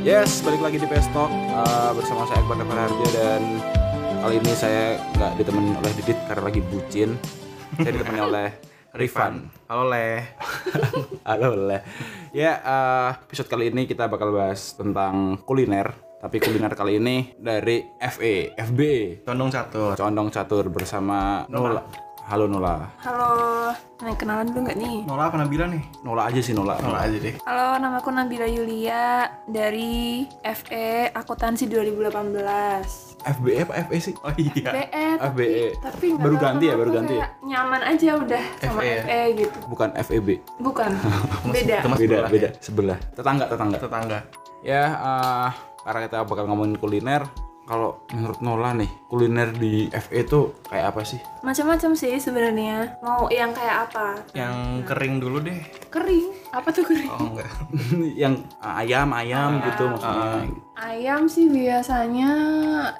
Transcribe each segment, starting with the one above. Yes, balik lagi di Pestok uh, bersama saya Akbar Harja dan kali ini saya nggak ditemani oleh Didit karena lagi bucin. Saya ditemani oleh Rifan. Halo leh. Halo leh. Ya, eh, episode kali ini kita bakal bahas tentang kuliner. Tapi kuliner kali ini dari FE, FB, Condong satu. Condong Catur bersama Nula. Halo Nula. Halo, mau kenalan dulu nggak nih? Nolak apa Nabila nih? Nula aja sih Nula. Nolak aja deh. Halo, nama aku Nabila Yulia dari FE Akuntansi 2018. FBE E apa FE sih? Oh iya. BE, FBE. E, tapi E. nggak Baru tahu ganti ya, kenapa baru ganti ya? E. kayak Nyaman aja udah sama FE ya? FE gitu. Bukan FEB. Bukan, beda. Teman Beda, sebelah ya? beda. Sebelah. Tetangga, tetangga. Tetangga. ya eh, karena kita bakal ngomongin kuliner kalau menurut Nola nih kuliner di FE itu kayak apa sih Macam-macam sih sebenarnya. Mau yang kayak apa? Yang kering dulu deh. Kering. Apa tuh kering? Oh enggak. yang ah, ayam ayam gitu maksudnya Ayam sih biasanya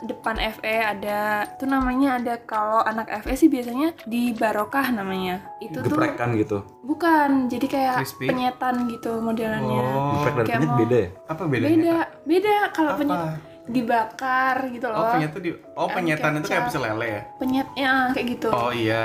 depan FE ada tuh namanya ada kalau anak FE sih biasanya di Barokah namanya. Itu tuh geprekan gitu Bukan, jadi kayak Crispy? penyetan gitu modelannya. Oh. geprek dan kayak penyet mau- beda ya Apa bedanya? Beda, beda kalau Apa? penyet dibakar gitu loh. Oh penyet tuh di Oh penyetan itu kayak kecap. pecel lele ya? Penyet ya kayak gitu. Oh iya.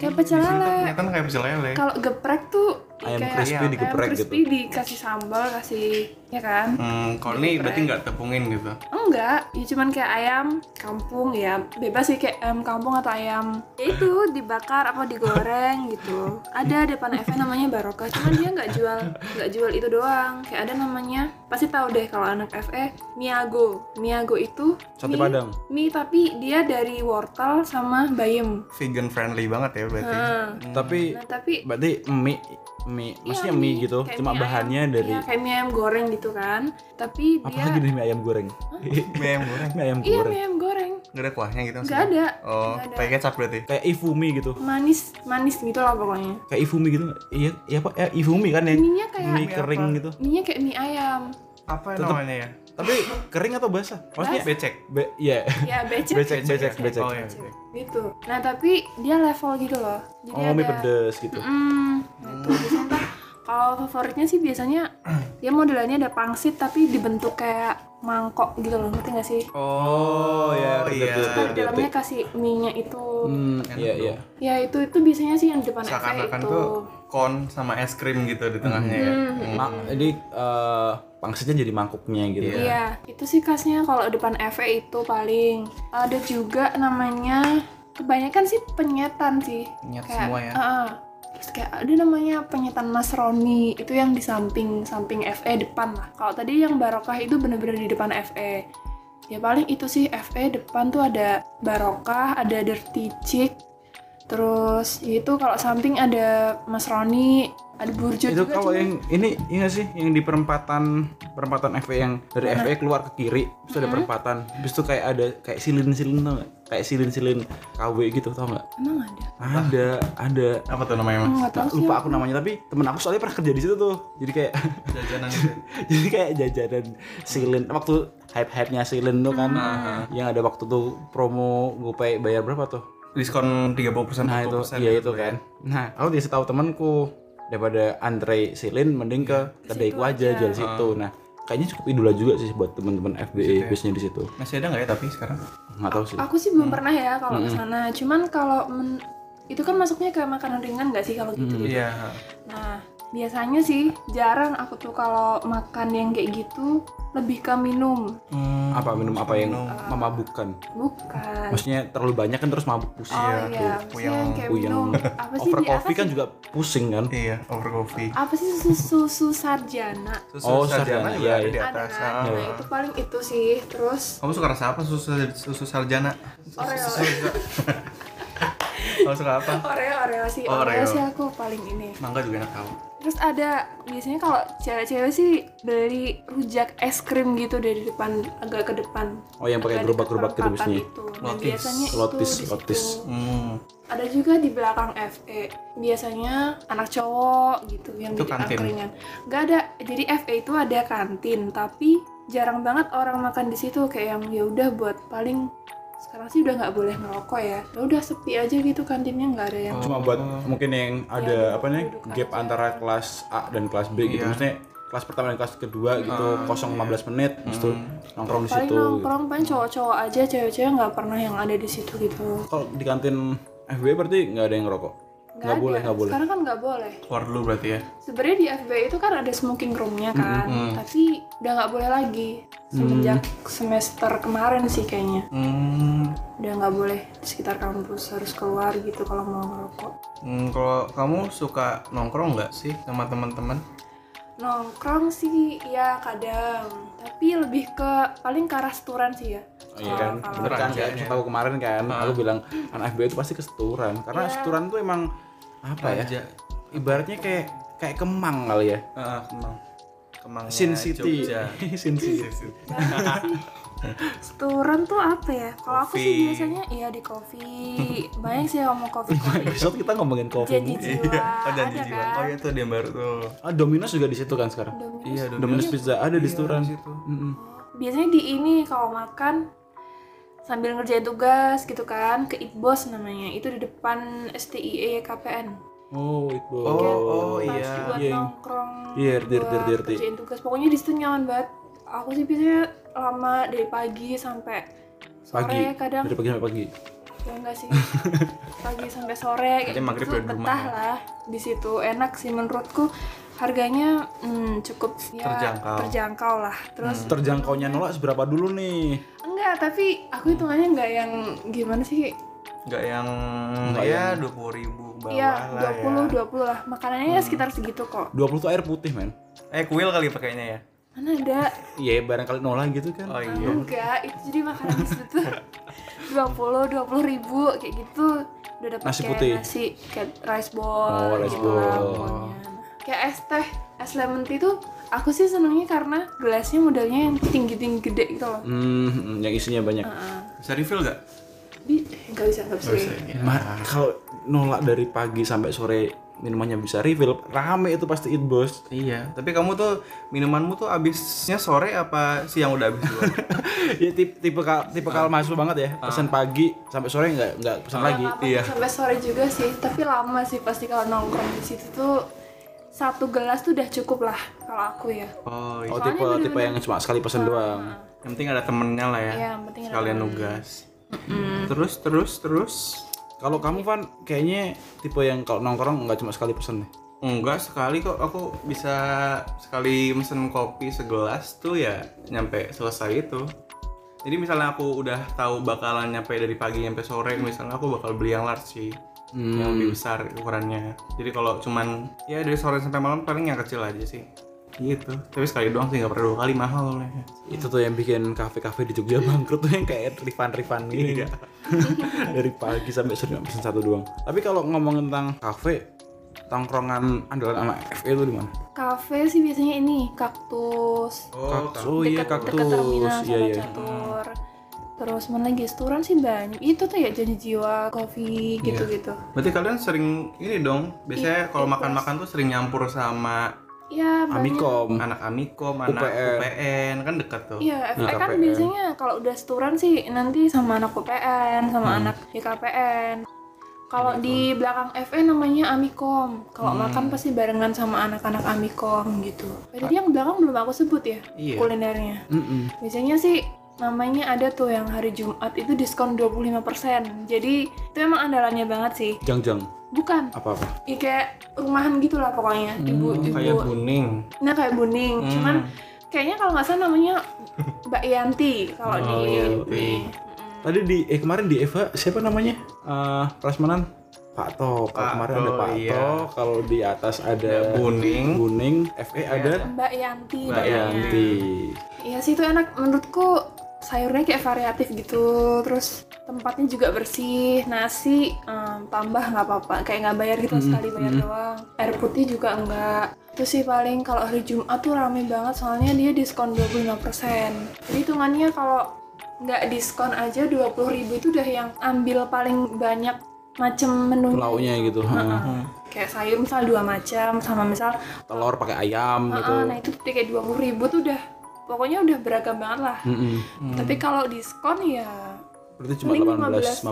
Kayak pecel Di sini tuh lele. Penyetan kayak pecel lele. Kalau geprek tuh ayam kayak crispy ayam digeprek ayam gitu crispy dikasih sambal, kasih ya kan? Hmm, kalau ini berarti nggak tepungin gitu. Enggak, ya cuman kayak ayam kampung ya. Bebas sih kayak ayam kampung atau ayam ya itu dibakar apa digoreng gitu. Ada depan FE namanya Barokah, cuman dia nggak jual nggak jual itu doang. Kayak ada namanya, pasti tahu deh kalau anak FE Miago. Miago itu Sate mie- Padang. Mie tapi dia dari wortel sama bayam. Vegan friendly banget ya berarti. Nah, tapi nah tapi ya, berarti mie mie maksudnya mie gitu kayak cuma mie bahannya ayam, dari iya, kayak mie ayam goreng gitu kan. Tapi apa dia lagi dari mie ayam goreng Mie ayam goreng. mie ayam Iya, goreng mie ayam goreng. Nggak ada kuahnya gitu Nggak ada. Oh, Nggak ada. pakai kecap berarti. kayak ifumi gitu manis manis gitu lah pokoknya kayak ifumi gitu nggak? iya iya apa ya, ifumi kan ya mie nya kayak mie kering gitu mie nya kayak mie ayam Apa Tetep- namanya ya? tapi kering atau basah maksudnya Becek. be iya ya becek becek becek becek Oh iya. gitu nah tapi dia level gitu loh jadi oh mie ada pedes gitu Mm, gitu biasanya tuh kalau favoritnya sih biasanya dia modelannya ada pangsit tapi dibentuk kayak mangkok gitu loh ngerti gak sih Oh, iya, iya. betul, betul, Terus betul. dalamnya kasih mie nya itu hmm Enak iya dong. iya ya itu itu biasanya sih yang di depan FE Seakan-akan itu tuh kon sama es krim gitu di tengahnya ya. Hmm. Ma- jadi eh, pangsitnya jadi mangkuknya gitu Iya. Iya, itu sih khasnya kalau depan FE itu paling. Ada juga namanya kebanyakan sih penyetan sih. Penyet semua ya? Heeh. terus kayak ada namanya penyetan Mas Roni itu yang di samping samping FE depan lah. Kalau tadi yang barokah itu bener-bener di depan FE. Ya paling itu sih FE depan tuh ada barokah, ada dirty chick. Terus ya itu kalau samping ada Mas Roni, ada Burjo itu juga. kalau cuman- yang ini iya nggak sih yang di perempatan perempatan FE yang dari FE keluar ke kiri terus ada perempatan terus itu kayak ada kayak silin-silin tau nggak kayak silin-silin KW gitu tau nggak Emang ada? ada ada Apa tuh namanya, Mas? Enggak tahu sih. lupa aku namanya tapi temen aku soalnya pernah kerja di situ tuh jadi kayak Jajanan itu. jadi kayak jajanan silin waktu hype hype nya silin tuh kan Nah. yang ada waktu tuh promo GoPay bayar berapa tuh Diskon 30% nah itu 40% iya gitu itu kan nah aku dikasih tahu temanku daripada antre silin mending Iya, ke kedaiku aja jual situ nah kayaknya cukup idola juga sih buat teman-teman FBE biasanya di situ ya. Masih ada nggak ya tapi sekarang? nggak tahu sih Aku sih belum pernah ya kalau ke sana. Cuman kalau men- itu kan masuknya ke makanan ringan nggak sih kalau gitu? Iya. Nah, biasanya sih jarang aku tuh kalau makan yang kayak gitu lebih ke minum. Hmm. apa minum apa yang memabukkan Bukan. maksudnya terlalu banyak kan terus mabuk pusing Iya. oh iya, tuh, maksudnya puyeng- yang kayak puyeng. minum apa sih over di atas coffee kan sih? juga pusing kan Iya, over coffee. apa sih susu, susu sarjana? Susu Oh, sarjana, sarjana iya, juga ada iya. di Ada atas. kan? Nah, Ah. itu paling itu sih. Terus Kamu suka rasa apa susu susu sarjana? Oreo. Kamu suka apa? Oreo, Oreo sih. Oreo. Oreo sih aku paling ini. Mangga juga enak tahu. Terus ada biasanya kalau cewek-cewek sih beli rujak es krim gitu dari depan agak ke depan. Oh, yang pakai Agak di gerobak-gerobak gitu perempatan biasanya. Itu. Nah, Lotis. biasanya itu Lotis, di situ. lotis. Hmm. Ada juga di belakang FE. Biasanya anak cowok gitu yang Itu jadi kantin. angkringan. Gak ada. Jadi FE itu ada kantin, tapi jarang banget orang makan di situ kayak yang ya udah buat paling sekarang sih udah nggak boleh ngerokok ya. Ya udah sepi aja gitu kantinnya nggak ada yang cuma buat mungkin yang ada Iya, apa nih duduk gap aja. antara kelas A dan kelas B gitu Iya. maksudnya kelas pertama dan kelas kedua gitu kosong 15 menit habis itu nongkrong di paling situ gitu. iya. Mm. nongkrong paling cowok-cowok aja cewek-cewek nggak pernah yang ada di situ gitu kalau di kantin FB berarti nggak ada yang ngerokok nggak boleh ada. nggak boleh sekarang kan nggak boleh keluar dulu berarti ya sebenarnya di FB itu kan ada smoking roomnya kan tapi udah nggak boleh lagi semenjak Mm. semester kemarin sih kayaknya hmm, udah nggak boleh di sekitar kampus harus keluar gitu kalau mau ngerokok hmm, kalau kamu suka nongkrong nggak sih sama teman-teman nongkrong sih ya kadang tapi lebih ke paling ke arah seturan sih ya Oh, iya kan Kalau- bener kan Rajanya. kayak aku kemarin kan Ah. aku bilang anak FB itu pasti keseturan karena seturan tuh emang apa ya Raja. ibaratnya kayak kayak kemang kali ya Ah, Kemang Kemang Sin City Jogja. Sin City Seturan tuh apa ya? Kalau aku sih Kopi. biasanya iya di kopi. Banyak sih yang mau kopi kopi. episode kita ngomongin kopi Janji mulu. jiwa. oh janji ada jiwa kan? oh ya tuh ada yang baru tuh ah Domino's juga di situ kan sekarang Domino's. iya Domino's Pizza ada di seturan situ. Mm-mm. Biasanya di ini kalau makan sambil ngerjain tugas gitu kan ke Itbos namanya itu di depan STIE KPN oh itu oh oh Pas iya buat Iya. nongkrong Iya, dirty, buat dirty, dirty. kerjain tugas pokoknya di situ nyaman banget aku sih biasanya lama dari pagi sampai sore pagi kadang dari pagi sampai pagi ya enggak sih pagi sampai sore kayak Nanti maghrib gitu udah di rumah betah ya. lah di situ enak sih menurutku harganya hmm, cukup ya, Terjangkau. terjangkau lah terus terjangkaunya nolak seberapa dulu nih Hmm. enggak tapi aku hitungannya enggak yang gimana sih nggak yang Nggak ya yang- dua puluh ribu bawah Iya, lah Hmm. ya 20 20 lah makanannya ya sekitar segitu kok 20 tuh air putih men ya eh kuil kali pakainya ya mana ada iya barangkali nolak gitu kan oh iya enggak itu jadi makanan di situ tuh 20 20 ribu kayak gitu udah dapat Nasi kayak putih. nasi kayak rice bowl Oh, rice gitu lah bowl. pokoknya. kayak es teh es lemon tea tuh aku sih senengnya karena gelasnya modelnya yang tinggi tinggi gede gitu loh Hmm, yang isinya banyak. bisa refill nggak Bi- eh, nggak bisa nggak bisa, Ma- kalau nolak dari pagi sampai sore minumannya bisa refill, rame itu pasti it bos. Iya, tapi kamu tuh minumanmu tuh abisnya sore apa siang udah habis dulu? ya tipe tipe kal tipe kal masuk banget ya. Pesan pagi sampai sore nggak nggak pesan Ya, lagi. Iya. nggak apa-apa, sampai sore juga sih tapi lama sih pasti kalau nongkrong di situ tuh satu gelas tuh udah cukup lah kalau aku ya oh, iya. Oh tipe tipe yang cuma sekali pesan doang. yang penting ada temennya lah ya. Iya, yang penting ada Sekalian nugas. Terus terus terus Kalau kamu Van kayaknya tipe yang kalau nongkrong nggak cuma sekali pesan nih. enggak sekali kok aku bisa sekali mesen kopi segelas tuh ya nyampe selesai itu. Jadi misalnya aku udah tahu bakalan nyampe dari pagi nyampe sore, misalnya aku bakal beli yang large sih. Yang lebih besar ukurannya. Jadi kalau cuman ya dari sore sampai malam paling yang kecil aja sih. Gitu. Tapi sekali doang sih nggak perlu dua kali mahal soalnya. Itu tuh yang bikin kafe-kafe di Jogja bangkrut tuh yang kayak rifan-rifan Iya. gini. Dari pagi sampai sore cuma pesan satu doang. Tapi kalau ngomong tentang kafe, tongkrongan andalan anak FE itu di mana? kafe sih biasanya ini kaktus Kaktus, oh iya dekat dekat terminal kaktus, sama iya iya. catur terus mana lagi restoran sih banyak itu tuh ya janji jiwa kopi Iya. gitu gitu Berarti kalian sering ini dong, biasanya Iya, kalau makan-makan tuh sering nyampur sama ya banyak Amikom. anak Amikom, anak UPN. UPN, kan dekat tuh. Nah, Iya, FE kan KPN. biasanya kalau udah restoran sih nanti sama anak UPN, Hmm. sama anak YKPN. Kalau di belakang FE namanya Amikom. Hmm. Kalau makan pasti barengan sama anak-anak Amikom gitu. Ah. Eh, Tadi yang belakang belum aku sebut ya Iya. kulinernya. Mm-mm. Biasanya sih namanya ada tuh yang hari Jumat itu diskon 25%. Jadi itu emang andalannya banget sih. Jangjang Bukan. apa apa? Ya kayak rumahan gitulah pokoknya. Ibu-ibu. Hmm, Kayak Hmm. kuning. nah kayak Buning. Cuman kayaknya kalau nggak salah namanya Mbak Yanti Oh, kalau di Tadi di eh kemarin di Eva siapa namanya? Eh Prasmanan Pak Tok. Kalau Pak kemarin ada Tok, Pak iya. Tok, kalau di atas ada Hmm, Ada Iya. kuning. Buning, FE ada Mbak Yanti. Mbak Mbak namanya. Yanti. Iya sih itu enak menurutku sayurnya kayak variatif gitu terus tempatnya juga bersih nasi em, tambah nggak apa-apa kayak nggak bayar gitu sekali bayar doang air putih juga enggak itu sih paling kalau hari Jumat tuh rame banget soalnya dia diskon 25% jadi hitungannya kalau nggak diskon aja 20.000 itu udah yang ambil paling banyak macam menu Nah, Lauknya gitu. ha. kayak sayur misal dua macam sama misal Telur pakai ayam gitu. ah, nah itu tuh kayak 20.000 tuh udah pokoknya udah beragam banget lah Mm-mm. tapi kalau diskon ya Berarti cuma 18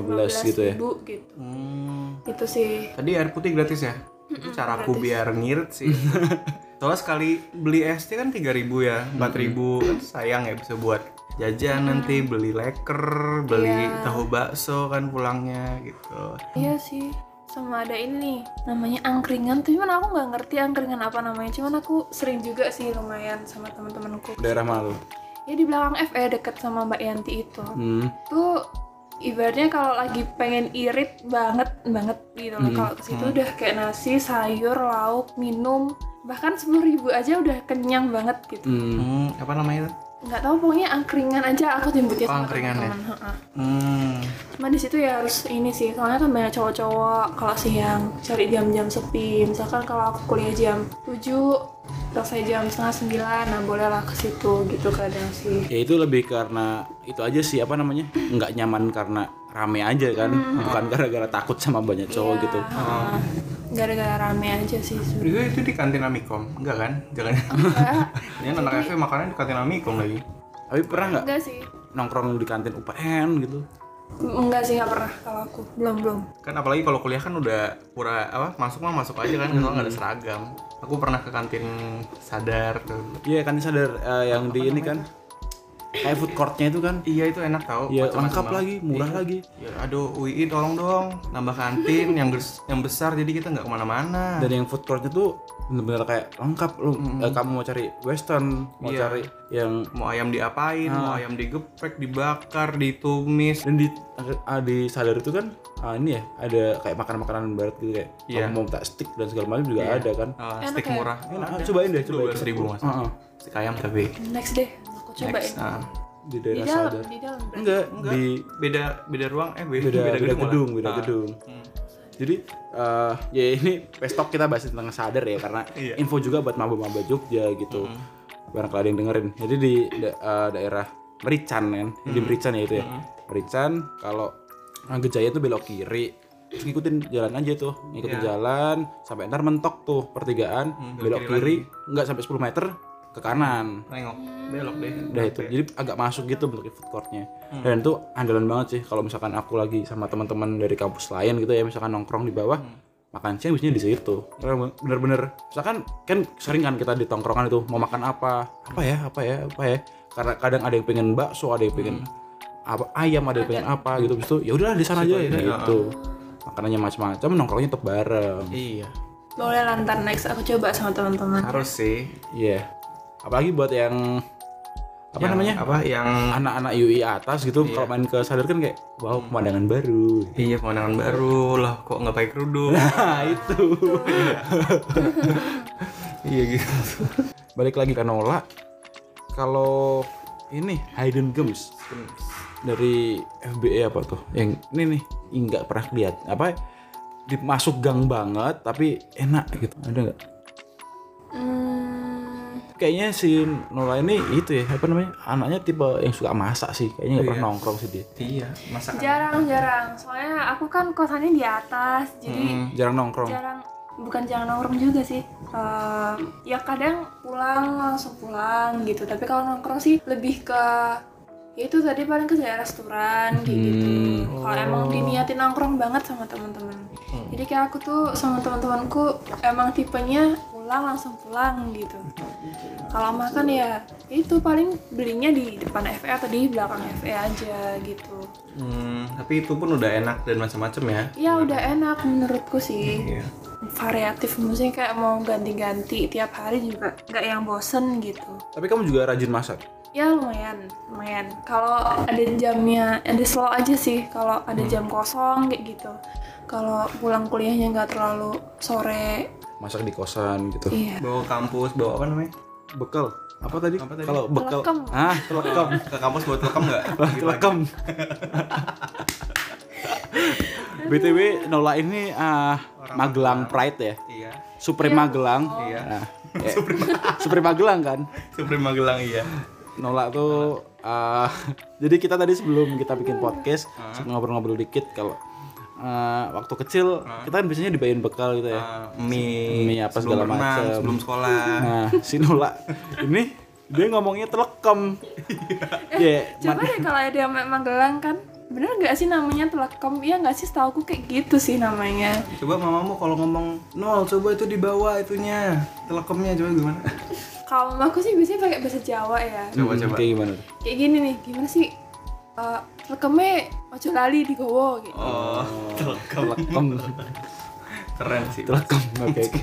15 gitu ya. ribu gitu. Hmm. Itu sih. Tadi air putih gratis ya? Itu cara aku biar ngirit sih. Soalnya sekali beli ST kan 3000 ya, 4000 kan sayang ya bisa buat jajan nanti beli leker, beli Iya. tahu bakso kan pulangnya gitu. Iya sih sama ada ini namanya angkringan cuman aku nggak ngerti angkringan apa namanya cuman aku sering juga sih lumayan sama teman-temanku daerah mana lu? ya di belakang FE deket sama Mbak Yanti itu Hmm. tuh ibaratnya kalau lagi pengen irit banget banget gitu loh. Hmm, kalau ke situ udah kayak nasi sayur lauk minum bahkan sepuluh ribu aja udah kenyang banget gitu Hmm. Hmm, apa namanya itu? nggak tahu pokoknya angkringan aja aku jemputnya Oh, sama angkringan ya? teman-teman heeh. Hmm. Cuma di situ ya harus ini sih, soalnya kan banyak cowok-cowok kalau siang cari jam-jam sepi. Misalkan kalau aku kuliah jam 7, selesai jam setengah 9, nah bolehlah ke situ gitu kadang sih. Ya itu lebih karena itu aja sih apa namanya? nggak nyaman karena rame aja kan, bukan gara-gara takut sama banyak cowok Iya, gitu. heeh. Gara-gara rame aja sih sebenarnya. Itu, itu di kantin Amikom, enggak kan? Jangan. Enggak, Ini kan anak FE makannya di kantin Amikom lagi. Tapi pernah nggak enggak sih. nongkrong di kantin UPN gitu? Enggak sih, enggak pernah kalau aku. Belum, belum. Kan apalagi kalau kuliah kan udah pura apa masuk mah masuk aja kan kalau nggak ada seragam. Aku pernah ke kantin sadar tuh. Iya kan sadar eh, yang di ini kan kayak food courtnya itu kan? Iya itu enak tau. Iya macam-macam lengkap banget. lagi, murah lagi. Ya, aduh UI tolong dong nambah kantin yang ges- yang besar jadi kita nggak Ah. kemana-mana. Dan yang food courtnya tuh bener-bener kayak lengkap lu eh, kamu mau cari western, mau Iya. cari yang Mau ayam diapain? Mau Ah. ayam digeprek, dibakar, ditumis. dan di ah, di sadar itu kan ah, ini ya ada kayak makanan makanan barat gitu kayak Iya. kamu mau tak stick dan segala macam juga ada kan Eh, steak ya? murah. Enak, cobain deh, cobain. Ah, 12.000 mas. Heeh. Steak ayam tapi. Next deh, aku coba Next, ya. ah. di Di daerah dalam, sadar di dalam. berarti. enggak, di beda beda ruang eh beda, beda, beda malah. gedung beda Ah. gedung Hmm. jadi eh, ya ini pestok kita bahas tentang sadar ya karena Iya. info juga buat maba-maba Jogja gitu barangkali ada yang dengerin jadi di da- eh, daerah Merican kan di Merican ya itu ya Merican kalau Gejaya itu belok kiri Terus ngikutin jalan aja tuh ngikutin Iya. jalan sampai ntar mentok tuh pertigaan Hmm, belok belok kiri nggak sampai 10 meter ke kanan Nengok belok deh. udah itu jadi agak masuk gitu bentuk food courtnya Hmm. dan itu andalan banget sih kalau misalkan aku lagi sama teman-teman dari kampus lain gitu ya misalkan nongkrong di bawah Hmm. makan siang biasanya di situ Karena bener-bener misalkan kan sering kan kita di tongkrongan itu mau makan apa apa ya apa ya apa ya karena kadang ada yang pengen bakso ada yang pengen Hmm. apa ayam ada yang pengen apa gitu terus tuh ya udahlah di sana aja aja, ya. gitu makanannya macam-macam nongkrongnya tetap bareng Iya. Boleh lantar next, aku coba sama teman-teman. Harus sih. iya apalagi buat yang apa Yang- namanya Apa yang anak-anak UI atas gitu kalau main ke sadar kan kayak wow pemandangan baru Iya pemandangan baru lah kok nggak pakai kerudung. nah itu iya gitu. balik lagi ke Nola kalau ini Hayden Games dari FBE apa tuh yang ini nih ih, nggak pernah lihat apa dimasuk gang banget tapi enak gitu ada nggak Hmm, kayaknya si Nola ini itu ya apa namanya anaknya tipe yang suka masak sih kayaknya nggak pernah nongkrong sih dia Iya, masakan. jarang-jarang. Soalnya aku kan kosannya di atas, jadi jarang nongkrong jarang bukan jarang nongkrong juga sih Ehm, ya kadang pulang langsung pulang gitu tapi kalau nongkrong sih lebih ke ya itu tadi paling ke daerah restoran kayak gitu kalau emang diniatin nongkrong banget sama teman-teman jadi kayak aku tuh sama teman-temanku emang tipenya pulang langsung pulang gitu kalau makan ya itu paling belinya di depan FE atau di belakang FE aja gitu Hmm, tapi itu pun udah enak dan macam-macam ya. ya udah enak menurutku sih Iya. variatif maksudnya kayak mau ganti-ganti tiap hari juga nggak yang bosen gitu tapi kamu juga rajin masak ya lumayan lumayan kalau ada jamnya ada slot aja sih kalau ada jam Hmm. kosong kayak gitu kalau pulang kuliahnya nggak terlalu sore masak di kosan gitu iya Bawa kampus, bawa apa namanya? bekal apa tadi, Apa tadi? kalau bekal Telekem. ah telekom Ke kampus buat lekam nggak? telekom btw Nola ini ah, Magelang Pride ya Iya. Supreme Magelang Iya. Nah, eh, Supreme Magelang kan Supreme Magelang iya. Nola tuh ah, jadi kita tadi sebelum kita bikin podcast ngobrol-ngobrol dikit kalau ah, waktu kecil kita kan biasanya dibayarin bekal gitu ya Eh, mie, Mie apa segala sebelum renang, macam. sebelum sekolah. nah si Nola ini dia ngomongnya telekom ya Iya. ya coba deh kalau ada yang Magelang kan bener nggak sih namanya telekom iya nggak sih setahu aku kayak gitu sih namanya Coba mamamu kalau ngomong nol, coba itu di bawah itunya telekomnya coba gimana? kalau mamaku sih biasanya pakai bahasa Jawa ya Coba, coba. Hmm, Kayak gimana? tuh? kayak gini nih gimana sih Eh, telekomnya ojo lali di gowo gitu Oh, telekom. Telekom, Keren sih. telekom. Oke, oke.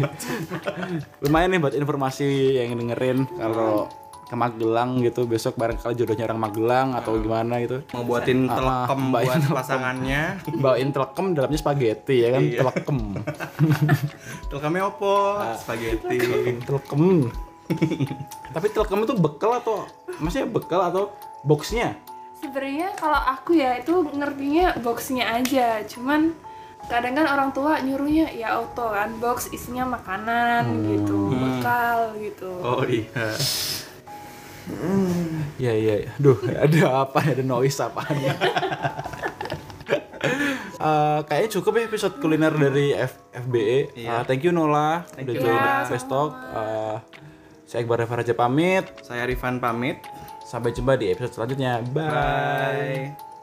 Lumayan nih buat informasi yang dengerin kalau ke Magelang gitu besok barangkali jodohnya orang Magelang atau gimana gitu. Mau buatin Ah, telekom mbak buat ini pasangannya. Bawain telekom dalamnya spaghetti ya kan? Iya. Telekom. Telekomnya opo? Spaghetti. Ah, telekom. Tapi telekom itu bekal atau maksudnya bekal atau boxnya? sebenarnya kalau aku ya itu ngertinya boxnya aja cuman kadang kan orang tua nyuruhnya ya auto kan box isinya makanan gitu bekal gitu Oh iya. Iya iya. iya. Aduh, ada apa? Ada noise apaan? Eh, kayaknya cukup ya episode kuliner dari F- FBE. Eh, Iya. thank you Nola Thank udah you. join Iya, Fast Talk. Eh, saya Iqbal Reva Raja pamit. Saya Rifan pamit. Sampai jumpa di episode selanjutnya. Bye. Bye.